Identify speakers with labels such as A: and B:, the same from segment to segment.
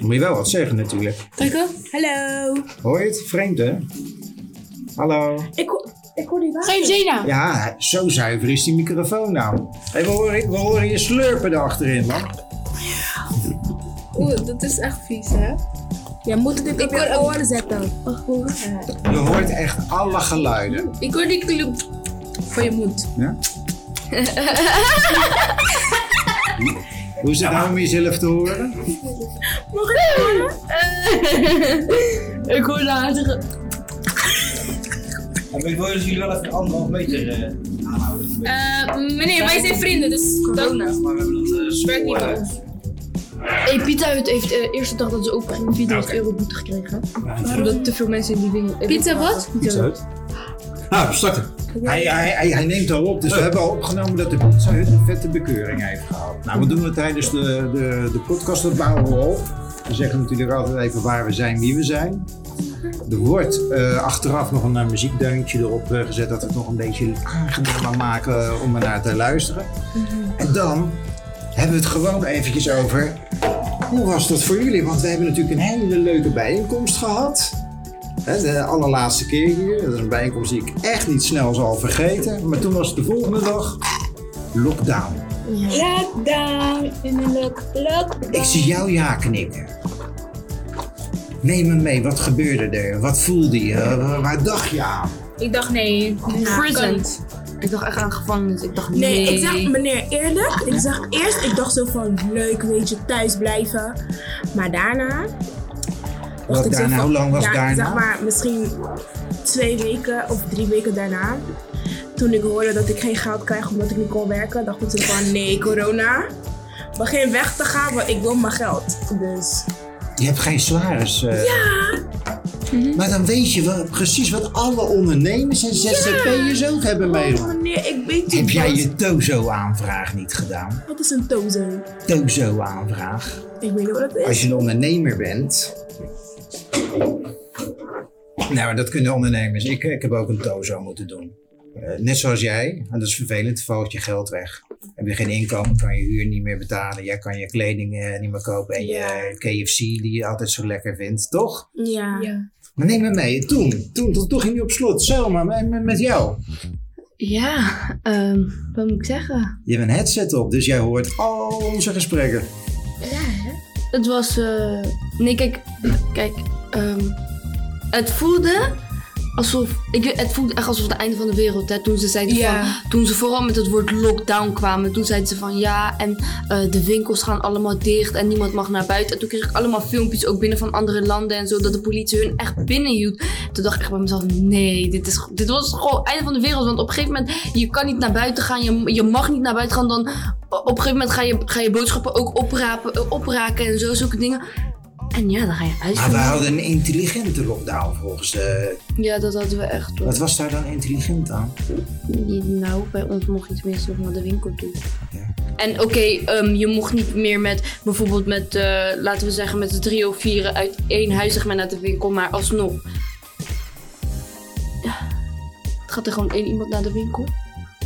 A: Moet je wel wat zeggen natuurlijk.
B: Rico? Hallo.
A: Hoor je het? Vreemd hè? Hallo.
C: Ik, ho- ik hoor die water.
B: Geef Zena.
A: Ja, zo zuiver is die microfoon nou. Hé, we, horen, we horen je slurpen erachterin man.
C: Oeh, dat is echt vies, hè?
B: Je moet het
C: Ik
B: op je
C: hoor-
B: oren zetten.
C: Oh, hoor. Ja.
A: Je hoort echt alle geluiden.
C: Ik hoor die kloep van je mond.
A: Ja? Hoe is het nou om jezelf te horen?
B: Ik hoor later.
D: Maar ik wil dus jullie wel even anderhalf meter eh, aanhouden.
C: Eh, meneer, wij zijn vrienden, dus corona.
D: Maar we hebben dat eh
C: werkt niet
D: school,
C: bij
D: eh,
C: ons.
E: Hey, Pieter heeft, heeft eh, de eerste dag dat ze open ging 400 euro boete gekregen. Omdat te veel mensen in die winkel... eh,
C: Pieter,
E: winkel
C: wat?
E: waren.
F: Iets uit. Nou, we starten.
A: Hij, hij, hij, hij neemt al op, dus we hebben al opgenomen dat de pizza Hut een vette bekeuring heeft gehaald. Nou, we doen het tijdens de, de, de podcast, dat bouwen we op. We zeggen natuurlijk altijd even waar we zijn, wie we zijn. Er wordt eh, achteraf nog een eh, muziekdeuntje erop eh, gezet dat we het nog een beetje aangenamer maken eh, om er naar te luisteren. En dan hebben we het gewoon eventjes over hoe was dat voor jullie? Want we hebben natuurlijk een hele leuke bijeenkomst gehad. Hè, de allerlaatste keer hier. Dat is een bijeenkomst die ik echt niet snel zal vergeten. Maar toen was het de volgende dag lockdown.
C: Lockdown in een lock,
A: Ik zie jou ja knikken. Neem me mee, wat gebeurde er? Wat voelde je? Wa- Waar dacht je aan?
C: Ik dacht nee,
E: Prison.
C: prison.
E: Ik dacht echt aan gevangenis. Ik dacht nee.
B: Nee, ik zag meneer eerlijk. Ik zag eerst, ik dacht zo van leuk, weet je, thuis blijven. Maar daarna.
A: Wat
B: ik zo
A: daarna,
B: van-
A: hoe lang was
B: ja,
A: daarna?
B: Zeg maar misschien twee weken of drie weken daarna. Toen ik hoorde dat ik geen geld krijg omdat ik niet kon werken, dacht ik toen van nee, corona. Begin weg te gaan, want ik wil mijn geld. Dus.
A: Je hebt geen salaris. Ja! Maar dan weet je wel precies wat alle ondernemers en ZZP'ers ook hebben
B: Oh,
A: meegemaakt.
B: meneer, ik weet niet.
A: Heb jij
B: wat-
A: je Tozo-aanvraag niet gedaan?
B: Wat is een tozo?
A: Tozo-aanvraag.
B: Ik weet niet wat dat is.
A: Als je een ondernemer bent. Nou, maar dat kunnen ondernemers. Ik, eh, ik heb ook een tozo moeten doen. Eh, net zoals jij, en dat is vervelend, valt je geld weg. Heb je geen inkomen, kan je huur niet meer betalen. Jij kan je kleding eh, niet meer kopen. En je KFC, die je altijd zo lekker vindt, toch?
B: Ja.
A: Maar neem me mee, toen, toen, toen, toen ging je op slot. Selma, met, met- met jou.
E: Ja, ehm, wat moet ik zeggen?
A: Je hebt een headset op, dus jij hoort al onze gesprekken.
E: Het was... eh, Nee, kijk. Kijk. ehm, het voelde... Alsof, ik, weet- het voelde echt alsof het einde van de wereld. Hè, toen, ze zeiden
C: Ja.
E: van, toen ze vooral met het woord lockdown kwamen. Toen zeiden ze van ja, en eh, de winkels gaan allemaal dicht en niemand mag naar buiten. En toen kreeg ik allemaal filmpjes ook binnen van andere landen en zo. Dat de politie hun echt binnen hield. Toen dacht ik echt bij mezelf, nee, dit, is, dit was gewoon het einde van de wereld. Want op een gegeven moment, je kan niet naar buiten gaan. Je, je mag niet naar buiten gaan. Dan op een gegeven moment ga je, ga je boodschappen ook oprapen, eh, opraken en zo, zulke dingen. En ja, dan ga je uit.
A: Maar we hadden een intelligente lockdown volgens de...
E: Ja, dat hadden we echt. hoor.
A: Wat was daar dan intelligent aan?
E: Nou, bij ons mocht je tenminste nog naar de winkel toe.
A: Ja.
E: En oké, ehm, je mocht niet meer met bijvoorbeeld met, eh, laten we zeggen, met z'n drie of vieren uit één huis zeg maar, naar de winkel, maar alsnog. Ja. Gaat er gewoon één iemand naar de winkel?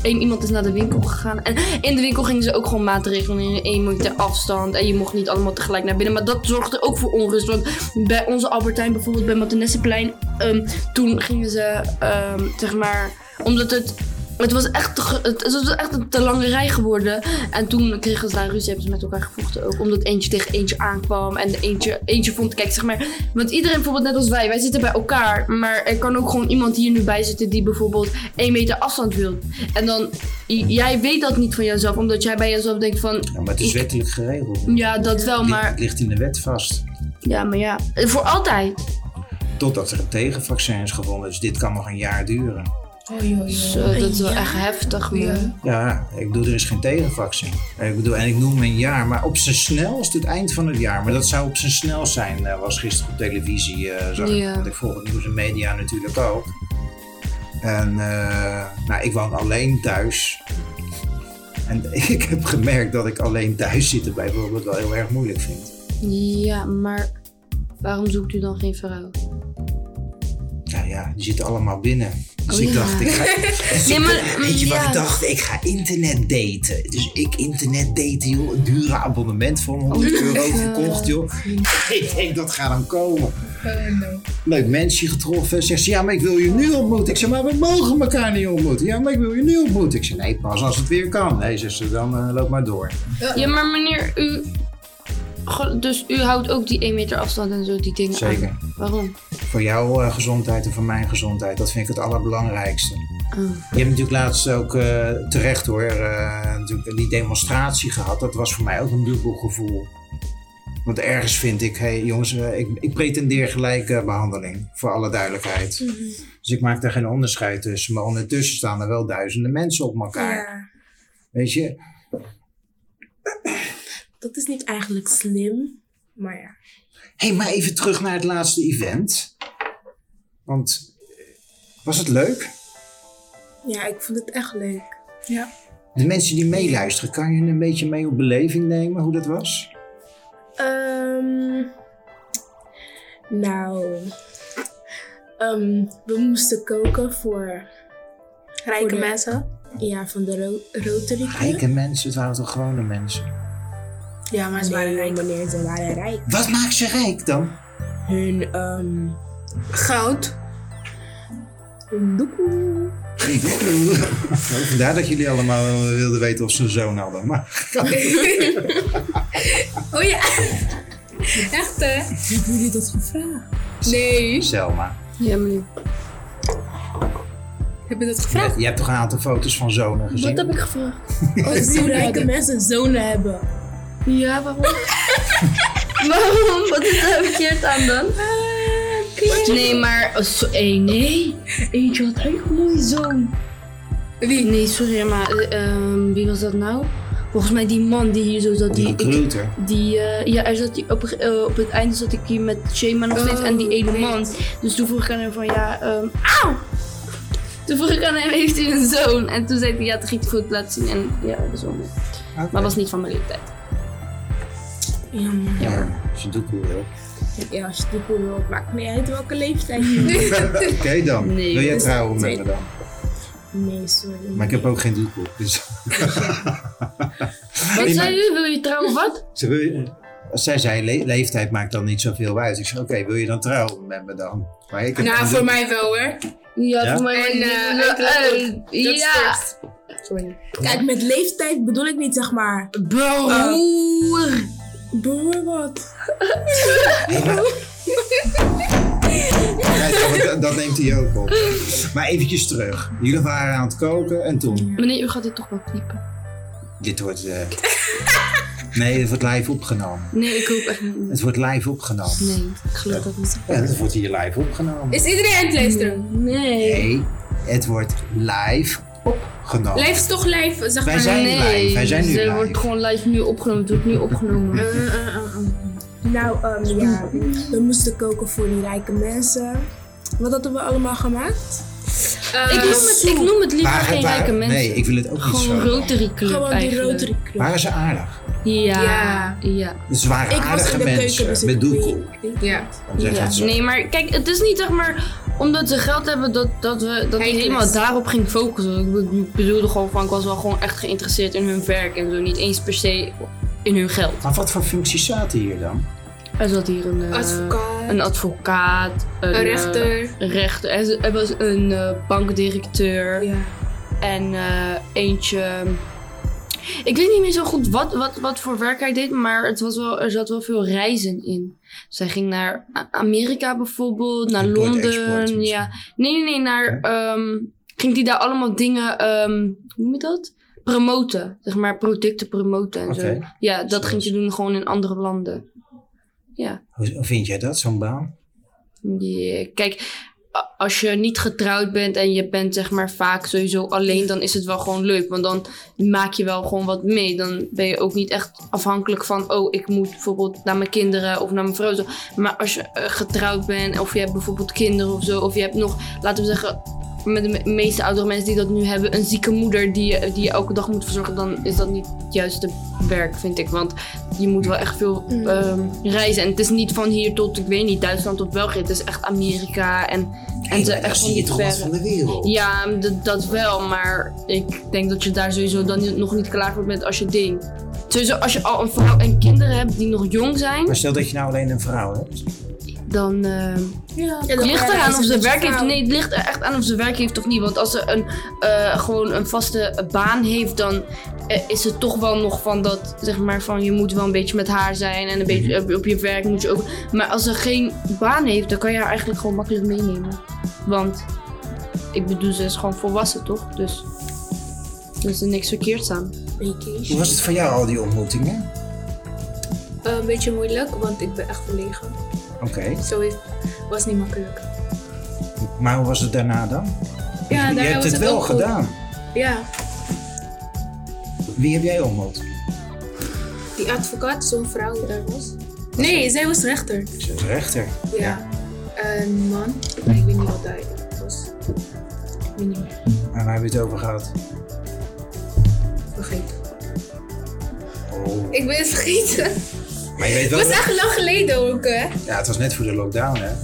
E: Eén iemand is naar de winkel gegaan. En in de winkel gingen ze ook gewoon maatregelen in één meter afstand. En je mocht niet allemaal tegelijk naar binnen. Maar dat zorgde ook voor onrust. Want bij onze Albertijn bijvoorbeeld, bij Martinesseplein, ehm, toen gingen ze, ehm, zeg maar, omdat het. Het was, echt, te ge- het, het was echt een te lange rij geworden. En toen kregen ze daar ruzie, hebben ze met elkaar gevochten ook. Omdat eentje tegen eentje aankwam. En de eentje, eentje vond, kijk zeg maar. Want iedereen bijvoorbeeld, net als wij, wij zitten bij elkaar. Maar er kan ook gewoon iemand hier nu bij zitten die bijvoorbeeld één meter afstand wil. En dan, j- jij weet dat niet van jezelf. Omdat jij bij jezelf denkt van,
A: Ja, Nou, maar het is
E: Ik-
A: wettelijk geregeld.
E: ja dat wel,
A: Ligt-
E: maar...
A: Het ligt in de wet vast.
E: Ja, maar ja. Voor altijd.
A: Totdat er een tegenvaccin is gevonden. Dus dit kan nog een jaar duren.
E: Zo, Dus, eh, dat is wel echt heftig, man.
A: Ja, ik bedoel, er is geen tegenvaccin. Eh, Ik bedoel, en ik noem een jaar, maar op zijn snelst het eind van het jaar. Maar dat zou op zijn snelst zijn, eh, was gisteren op televisie. eh, zag ik,
E: Ja.
A: want ik volg het nieuws en media natuurlijk ook. En eh, nou, ik woon alleen thuis. En ik heb gemerkt dat ik alleen thuis zitten bijvoorbeeld wel heel erg moeilijk vind.
E: Ja, maar waarom zoekt u dan geen vrouw?
A: Nou ja, die zitten allemaal binnen. Dus
E: Oh,
A: ik
E: ja.
A: dacht, ik ga, dus
E: Nee,
A: ik-
E: maar, mm,
A: weet je wat
E: ja.
A: ik dacht? Ik ga internet daten. Dus ik internet daten, joh. Een dure abonnement van
E: Oh,
A: 100 euro gekocht, joh. Ik denk, dat gaat hem komen. Leuk mensje getroffen. Zegt ze, ja, maar ik wil je nu ontmoeten. Ik zeg, maar we mogen elkaar niet ontmoeten. Ja, maar ik wil je nu ontmoeten. Ik zeg, nee, pas als het weer kan. Nee, zegt ze, dan eh, loop maar door.
E: Ja, maar meneer, u... Ge- Dus u houdt ook die 1 meter afstand en zo, die dingen aan?
A: Zeker.
E: Waarom?
A: Voor jouw eh, gezondheid en voor mijn gezondheid. Dat vind ik het allerbelangrijkste.
E: Oh.
A: Je hebt natuurlijk laatst ook eh, terecht hoor, eh, natuurlijk die demonstratie gehad. Dat was voor mij ook een dubbel gevoel. Want ergens vind ik, hé jongens, eh, ik, ik pretendeer gelijke behandeling, voor alle duidelijkheid. Dus ik maak daar geen onderscheid tussen. Maar ondertussen staan er wel duizenden mensen op elkaar.
B: Ja.
A: Weet je?
B: Dat is niet eigenlijk slim, maar ja.
A: Hé, maar even terug naar het laatste event. Want eh, was het leuk?
B: Ja, ik vond het echt leuk.
A: De mensen die meeluisteren, kan je een beetje mee op beleving nemen hoe dat was?
B: Ehm, nou, ehm, we moesten koken voor,
C: Rijke
B: de-
C: mensen.
B: ja, van de ro- Rotary Club.
A: Rijke mensen, het waren toch gewone mensen?
B: Ja, maar ze waren rijk. Meneer, ze waren rijk.
A: Wat maakt ze rijk dan?
B: Hun, ehm,
C: Goud.
B: hun doekoe.
A: Nou, Vandaar dat jullie allemaal wel wilden weten of ze een zoon hadden. Maar
C: Oh ja. Echt hè?
B: Hebben jullie dat gevraagd?
C: Nee.
A: Selma,
E: Ja, meneer.
C: Heb je dat
A: je,
C: gevraagd?
A: je hebt toch een aantal foto's van zonen gezien?
E: Wat heb ik gevraagd?
B: Als die rijke mensen zonen hebben.
E: Ja, waarom? waarom? Wat is daar verkeerd aan dan? Eh, Nee, maar... eh, Zo, eh, nee. Eentje had echt een mooie zoon. Wie? Nee, sorry, maar eh, ehm, wie was dat nou? Volgens mij die man die hier zo zat.
A: Die
E: Die, ik-
A: recruiter.
E: Die, eh, ja, er zat die op, een ge- eh, op het einde zat ik hier met Shema nog steeds
C: Oh,
E: en die ene
C: nee.
E: man. Dus toen vroeg ik aan hem van ja, ehm, auw! Toen vroeg ik aan hem, heeft hij een zoon? En toen zei hij ja, toen ging hij voor het laten zien en ja, de zoon.
A: Oké.
E: Maar was niet van mijn leeftijd.
B: Jammer.
A: Ja, ze doet wel. heel.
B: Ja, als je doekoe wilt, maakt niet uit welke leeftijd je bent.
A: Oké dan,
E: Nee,
A: wil jij
B: dat is
A: trouwen met
B: twee-
A: me dan?
B: Nee, sorry.
A: Maar ik heb ook geen doekoe. Dus.
E: Wat
A: Nee,
E: zei
A: maar-
E: u? Wil je trouwen wat?
A: Ze wil je- als zij zei, le- leeftijd maakt dan niet zoveel uit. Ik zei, oké, wil je dan trouwen met me dan? Maar ik heb
C: Nou,
A: geen
C: voor
A: doekoe.
C: mij wel hoor.
E: Ja,
A: Ja?
E: voor mij
C: En,
E: was
C: eh,
E: het
C: eh,
E: leuk,
C: eh,
E: leuk.
C: Dat is
E: Ja.
C: first.
B: Kijk, met leeftijd bedoel ik niet, zeg maar.
E: Eh, Broer.
B: Broer, wat?
A: Kijk, want dat- dat neemt hij ook op. Maar eventjes terug. Jullie waren aan het koken en toen...
E: Meneer, u gaat dit toch wel knippen?
A: Dit wordt. eh, nee, het wordt live opgenomen.
E: Nee, ik hoop echt niet.
A: Het wordt live opgenomen.
E: Nee, ik geloof dat niet.
A: Ja, het wordt hier live opgenomen.
C: Is iedereen aan het luisteren?
E: Nee.
A: Nee, het wordt live opgenomen.
C: Lijf is toch lijf, zeg
A: Wij
C: maar.
A: zijn
E: nee.
A: live. Wij zijn nu
E: Ze
A: live.
E: wordt gewoon live nu opgenomen. Het wordt nu opgenomen.
B: Eh, eh, eh, eh. Nou, ehm, ja. We moesten koken voor die rijke mensen. Wat hadden we allemaal gemaakt?
C: Eh,
E: ik, noem het, ik noem het liever
A: Waar-
E: geen
A: waar-
E: rijke mensen.
A: Nee, ik wil het ook niet zo.
E: Gewoon Rotary Club
B: Gewoon die
E: eigenlijk.
B: Rotary Club.
A: Waren ze aardig?
E: Ja,
C: Ja.
E: ja.
A: Dus ze waren
B: Ik was
A: aardige
B: in de
A: mensen.
B: keuken, dus
A: met
B: ik
A: doekoe.
B: weet- weet-
C: Ja.
A: Dan zeggen
E: Ja.
A: het zo.
E: Nee, maar kijk, het is niet zeg maar omdat ze geld hebben dat, dat, we, dat ik
C: Heikles.
E: helemaal daarop ging focussen. Ik be- Ik bedoelde gewoon van, ik was wel gewoon echt geïnteresseerd in hun werk en zo. Niet eens per se in hun geld.
A: Maar wat voor functies zaten hier dan?
E: Er zat hier een eh,
C: Advocaat.
E: Een advocaat. Een,
C: Een
E: eh,
C: rechter.
E: een rechter. Er, er was een eh, bankdirecteur.
C: Ja.
E: En eh, eentje. Ik weet niet meer zo goed wat, wat, wat voor werk hij deed, maar het was wel, er zat wel veel reizen in. Zij ging naar A- Amerika bijvoorbeeld, naar
A: Import, export
E: Londen.
A: misschien.
E: Ja. Nee, nee, nee, naar. ehm, ging die daar allemaal dingen. ehm, hoe noem je dat? Promoten. Zeg maar producten promoten en zo.
A: Oké.
E: Ja, dat ging ze doen gewoon in andere landen. Ja.
A: Hoe hoe vind jij dat, zo'n baan?
E: Ja, eh, Kijk, a- als je niet getrouwd bent en je bent zeg maar vaak sowieso alleen, dan is het wel gewoon leuk. Want dan maak je wel gewoon wat mee. Dan ben je ook niet echt afhankelijk van, oh, ik moet bijvoorbeeld naar mijn kinderen of naar mijn vrouw. zo. Maar als je eh, getrouwd bent of je hebt bijvoorbeeld kinderen of zo, of je hebt nog, laten we zeggen, met de me- meeste oudere mensen die dat nu hebben, een zieke moeder die je, die je elke dag moet verzorgen, dan is dat niet het juiste werk, vind ik. Want je moet wel echt veel
B: Mm.
E: ehm, reizen. En het is niet van hier tot, ik weet niet, Duitsland tot België. Het is echt Amerika en, en ze
F: Daar
E: echt
F: zie
E: van
F: je
E: die
F: toch wat
E: verre.
F: van de wereld.
E: Ja, d- dat wel, maar ik denk dat je daar sowieso dan niet- nog niet klaar voor bent als je ding. Sowieso als je al een vrouw en kinderen hebt die nog jong zijn,
F: Maar stel dat je nou alleen een vrouw hebt.
E: dan... ehm,
B: Ja,
E: Het ligt eraan of ze werk heeft.
B: of
E: Nee, het ligt er echt aan of ze werk heeft of niet. Want als ze een, eh, gewoon een vaste baan heeft, dan eh, is het toch wel nog van dat, zeg maar, van je moet wel een beetje met haar zijn en een beetje eh, op je werk moet je ook. Maar als ze geen baan heeft, dan kan je haar eigenlijk gewoon makkelijk meenemen. Want ik bedoel, ze is gewoon volwassen, toch? Dus er is er niks verkeerds aan.
F: Hoe was het voor jou al die ontmoetingen?
C: Eh, een beetje moeilijk, want ik ben echt verlegen.
F: Oké,
C: Zo is, was niet makkelijk.
F: maar hoe was het daarna dan?
C: Ja,
F: je
C: daarna
F: hebt
C: was
F: het,
C: het
F: wel
C: ook goed.
F: gedaan.
C: Ja,
F: Wie heb jij ontmoet?
C: die advocaat, zo'n vrouw die daar was. Nee, zij was rechter.
F: Ze is rechter.
C: Ja. Een man, ik weet niet wat hij was. Ik weet niet meer,
F: En waar hebben we het over gehad?
C: vergeten.
F: Oh.
C: Ik ben het vergeten.
F: Maar je weet wel...
C: Het was echt lang geleden ook, hè?
F: Ja, het was net voor de lockdown, hè?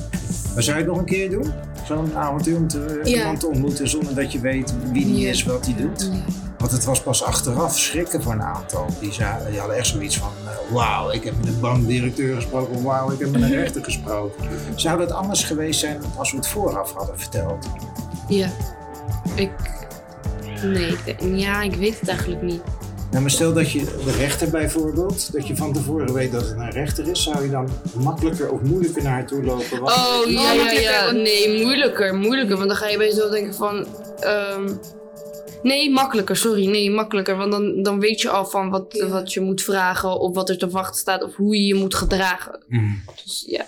A: Maar zou je het nog een keer doen? Zo'n avontuur om te,
C: Ja.
A: iemand te ontmoeten zonder dat je weet wie die is, wat die doet? Want het was pas achteraf schrikken voor een aantal. Die, za- die hadden echt zoiets van, eh, wauw, ik heb met een bankdirecteur gesproken, of wauw, ik heb met een rechter gesproken. Zou dat anders geweest zijn als we het vooraf hadden verteld?
E: Ja. Ik. Nee, ik denk- ja, ik weet het eigenlijk niet.
A: Nou, maar stel dat je de rechter bijvoorbeeld, dat je van tevoren weet dat het een rechter is, zou je dan makkelijker of moeilijker naar haar toe lopen? Wat-
E: Oh ja, ja, ja.
C: makkelijker.
E: Nee, moeilijker, moeilijker. Want dan ga je bij jezelf denken van. ehm, nee, makkelijker, sorry. Nee, makkelijker. Want dan, dan weet je al van wat,
C: Ja.
E: wat je moet vragen, of wat er te wachten staat, of hoe je je moet gedragen. Dus ja.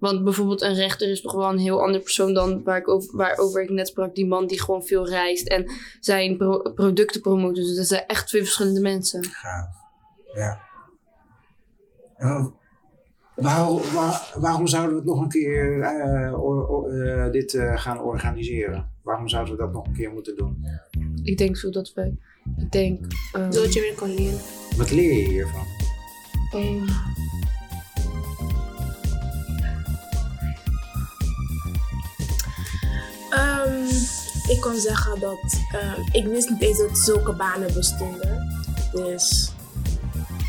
E: Want bijvoorbeeld een rechter is toch wel een heel ander persoon dan waar ik over, waarover ik net sprak. Die man die gewoon veel reist en zijn pro- producten promoot. Dus dat zijn echt twee verschillende mensen.
A: Oh, waarom, waar- waarom zouden we het nog een keer eh, or- or- eh, dit eh, gaan organiseren? Waarom zouden we dat nog een keer moeten doen?
E: Ik denk zo dat wij... Ik denk... ehm,
C: Zodat je weer kon leren.
A: Wat leer je hiervan?
E: ehm,
B: Ehm, ik kan zeggen dat ehm, ik wist niet eens dat zulke banen bestonden. Dus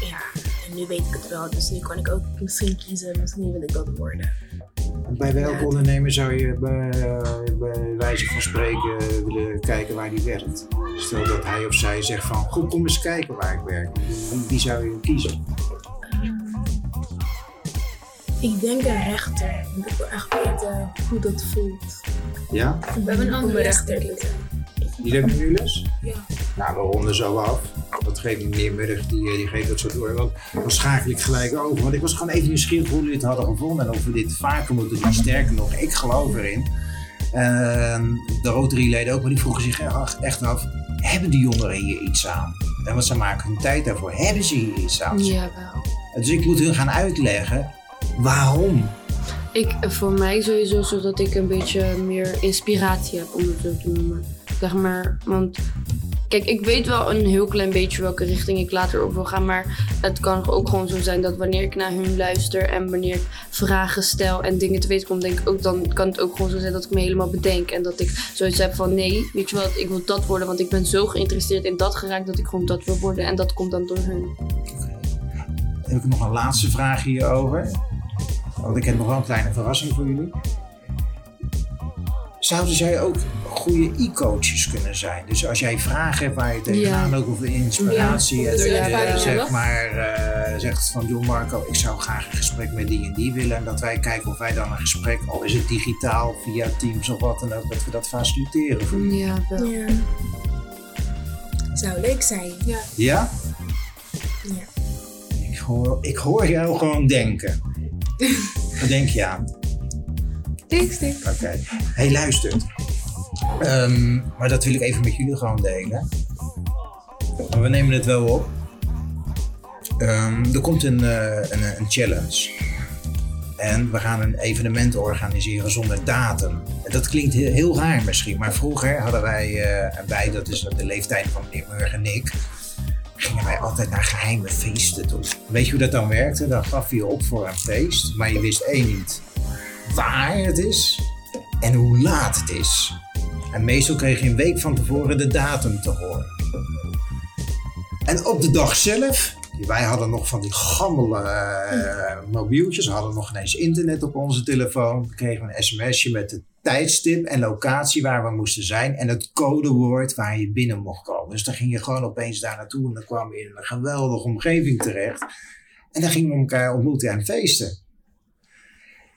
B: ja, en nu weet ik het wel. Dus nu kan ik ook misschien kiezen, misschien wil ik dat worden.
A: Bij welke ondernemer zou je bij, bij wijze van spreken willen kijken waar die werkt? Stel dat hij of zij zegt van, goed, kom eens kijken waar ik werk. Wie, wie zou je kiezen?
B: Ik denk een rechter, want ik wil echt weten hoe dat voelt.
A: Ja?
B: We
C: hebben een andere
B: te
C: rechter.
B: zijn.
A: Die hebben nu les?
B: Ja.
A: Nou, we ronden zo af. Dat geeft meneer Murg, die, eh, die geeft dat zo door. Want dan schakel ik gelijk over. Want ik was gewoon even nieuwsgierig hoe jullie het hadden gevonden. En of we dit vaker moeten doen. Sterker nog, ik geloof erin. En de Rotary-leden ook, maar die vroegen zich echt- echt af... Hebben die jongeren hier iets aan? En wat ze maken hun tijd daarvoor. Hebben ze hier iets aan?
E: jawel.
A: Dus ik moet hun gaan uitleggen waarom.
E: Ik, voor mij sowieso, zodat ik een beetje meer inspiratie heb, om het zo te noemen. Zeg maar, want... Kijk, ik weet wel een heel klein beetje welke richting ik later op wil gaan. Maar het kan ook gewoon zo zijn dat wanneer ik naar hun luister en wanneer ik vragen stel en dingen te weten kom, denk ik ook, dan kan het ook gewoon zo zijn dat ik me helemaal bedenk. En dat ik zoiets heb van nee, weet je wat, ik wil dat worden. Want ik ben zo geïnteresseerd in dat geraakt dat ik gewoon dat wil worden. En dat komt dan door hun.
A: heb ik nog een laatste vraag hierover. Want ik heb nog wel een kleine verrassing voor jullie. Zouden zij ook goede e-coaches kunnen zijn? Dus als jij vragen hebt waar je tegenaan loopt of inspiratie,
C: Ja,
A: en dat je
C: dat is wel
A: zeg
C: fijn,
A: maar eh, zegt van John Marco, ik zou graag een gesprek met die en die willen. En dat wij kijken of wij dan een gesprek, al is het digitaal, via Teams of wat dan ook, dat we dat faciliteren voor jullie.
E: Ja, wel.
B: Ja. Zou leuk zijn.
A: Ja?
B: Ja.
A: Ik hoor, ik hoor jou gewoon denken. Wat denk je aan?
C: Niks, niks.
A: Oké. Hey, luister. Ehm, maar dat wil ik even met jullie gewoon delen. Maar we nemen het wel op. Ehm, er komt een, eh, een, een challenge. En we gaan een evenement organiseren zonder datum. En dat klinkt heel, heel raar misschien, maar vroeger hadden wij, eh, en wij, dat is de leeftijd van meneer Murg en ik, gingen wij altijd naar geheime feesten toe. Weet je hoe dat dan werkte? Dan gaf je je op voor een feest, maar je wist één niet waar het is en hoe laat het is. En meestal kreeg je een week van tevoren de datum te horen. En op de dag zelf, wij hadden nog van die gammele eh, mobieltjes, we hadden nog ineens internet op onze telefoon. We kregen een sms'je met het tijdstip en locatie waar we moesten zijn en het codewoord waar je binnen mocht komen. Dus dan ging je gewoon opeens daar naartoe en dan kwam je in een geweldige omgeving terecht. En dan gingen we elkaar ontmoeten en feesten.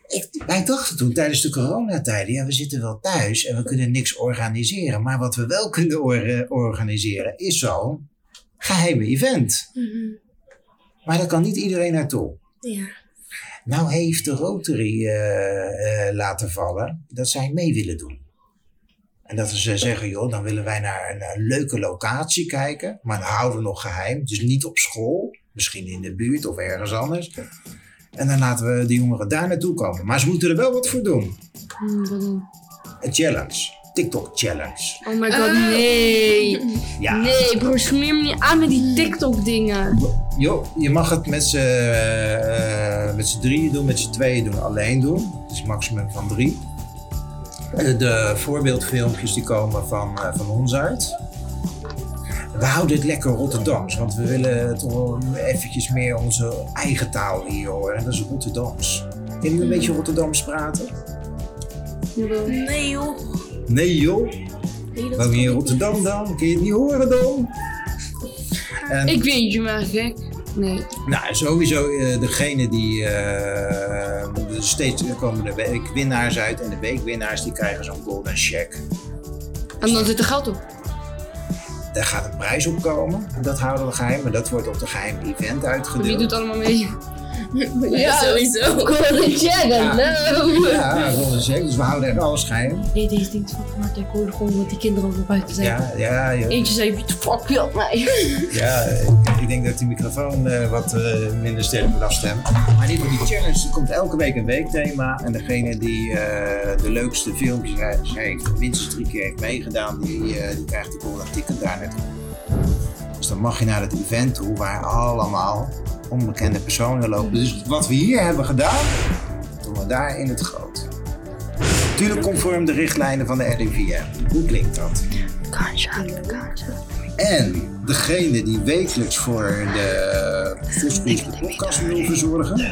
A: Ik, wij dachten toen tijdens de coronatijden, ja, we zitten wel thuis en we kunnen niks organiseren. Maar wat we wel kunnen or- eh, organiseren is zo'n geheime event.
B: Mhm.
A: Maar daar kan niet iedereen naartoe.
B: Ja.
A: Nou heeft de Rotary eh, eh, laten vallen dat zij mee willen doen. En dat ze zeggen, joh, dan willen wij naar een eh, leuke locatie kijken, maar dan houden we nog geheim. Dus niet op school, misschien in de buurt of ergens anders. En dan laten we de jongeren daar naartoe komen. Maar ze moeten er wel wat voor doen.
E: Hm, wat dan?
A: Een challenge. TikTok-challenge.
E: Oh my god, nee.
A: Ja.
E: Nee, broer, smeer me niet aan met die TikTok-dingen.
A: Joh, je mag het met z'n eh, met z'n drieën doen, met z'n tweeën doen, alleen doen. Het is maximum van drie. Eh, De voorbeeldfilmpjes die komen van, eh, van ons uit. We houden het lekker Rotterdams, want we willen toch wel eventjes meer onze eigen taal hier horen. En dat is Rotterdams. Kunnen jullie een beetje Rotterdams praten?
B: Nee joh.
A: Nee joh,
B: Nee, dat
A: woon je in
B: kan
A: Rotterdam dan? Kun je het niet horen dan? En-
E: Ik weet je maar gek. Nee.
A: Nou, sowieso eh, degene die eh, er steeds komen de weekwinnaars uit en de weekwinnaars die krijgen zo'n golden check.
E: En dan zit er geld op.
A: Daar gaat een prijs op komen. Dat houden we geheim, maar dat wordt op de geheim event
E: Wie
A: uitgedeeld.
E: doet allemaal mee?
B: niet. Ja, sowieso.
E: Golden check, hallo.
A: Ja, een golden check. Dus we houden echt alles geheim.
E: Nee, deze ding is fucking hard. Ik hoorde gewoon dat die kinderen over buiten zijn.
A: Ja, ja, joh.
E: Eentje zei, what the fuck wil mij?
A: ja. ik- Ik denk dat die microfoon eh, wat eh, minder sterk moet afstemmen. Maar dit wordt die challenge. Er komt elke week een weekthema. En degene die eh, de leukste filmpjes heeft- heeft, minstens drie keer heeft meegedaan, die, eh, die krijgt de golden ticket daar net. Dus dan mag je naar het event toe waar allemaal onbekende personen lopen. Dus wat we hier hebben gedaan, doen we daar in het groot. Natuurlijk conform de richtlijnen van de RIVM. Hoe klinkt dat? En degene die wekelijks voor de Voskries de podcast wil verzorgen.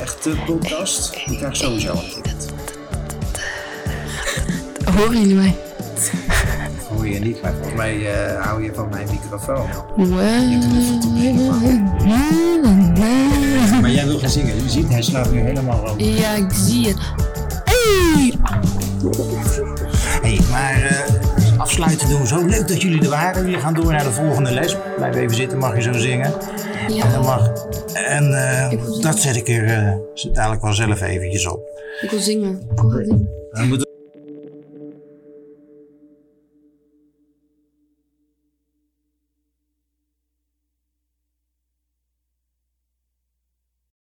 A: Echte podcast. Die krijgt sowieso een ticket.
E: Horen jullie mij?
A: Dat hoor je niet, maar volgens mij eh, hou je van mijn microfoon. Maar jij wil gaan zingen. Je ziet, hij slaat nu helemaal over.
E: Ja, ik zie het.
A: Hey, maar eh, afsluiten doen we zo. Leuk dat jullie er waren. Jullie gaan door naar de volgende les. Blijf even zitten, mag je zo zingen. En dan
E: Ja,
A: mag... En eh,
E: Ik wil zingen.
A: dat zet ik er eh, dadelijk wel zelf eventjes op.
E: ik wil zingen. Ik wil gaan zingen.
A: Dan moeten we-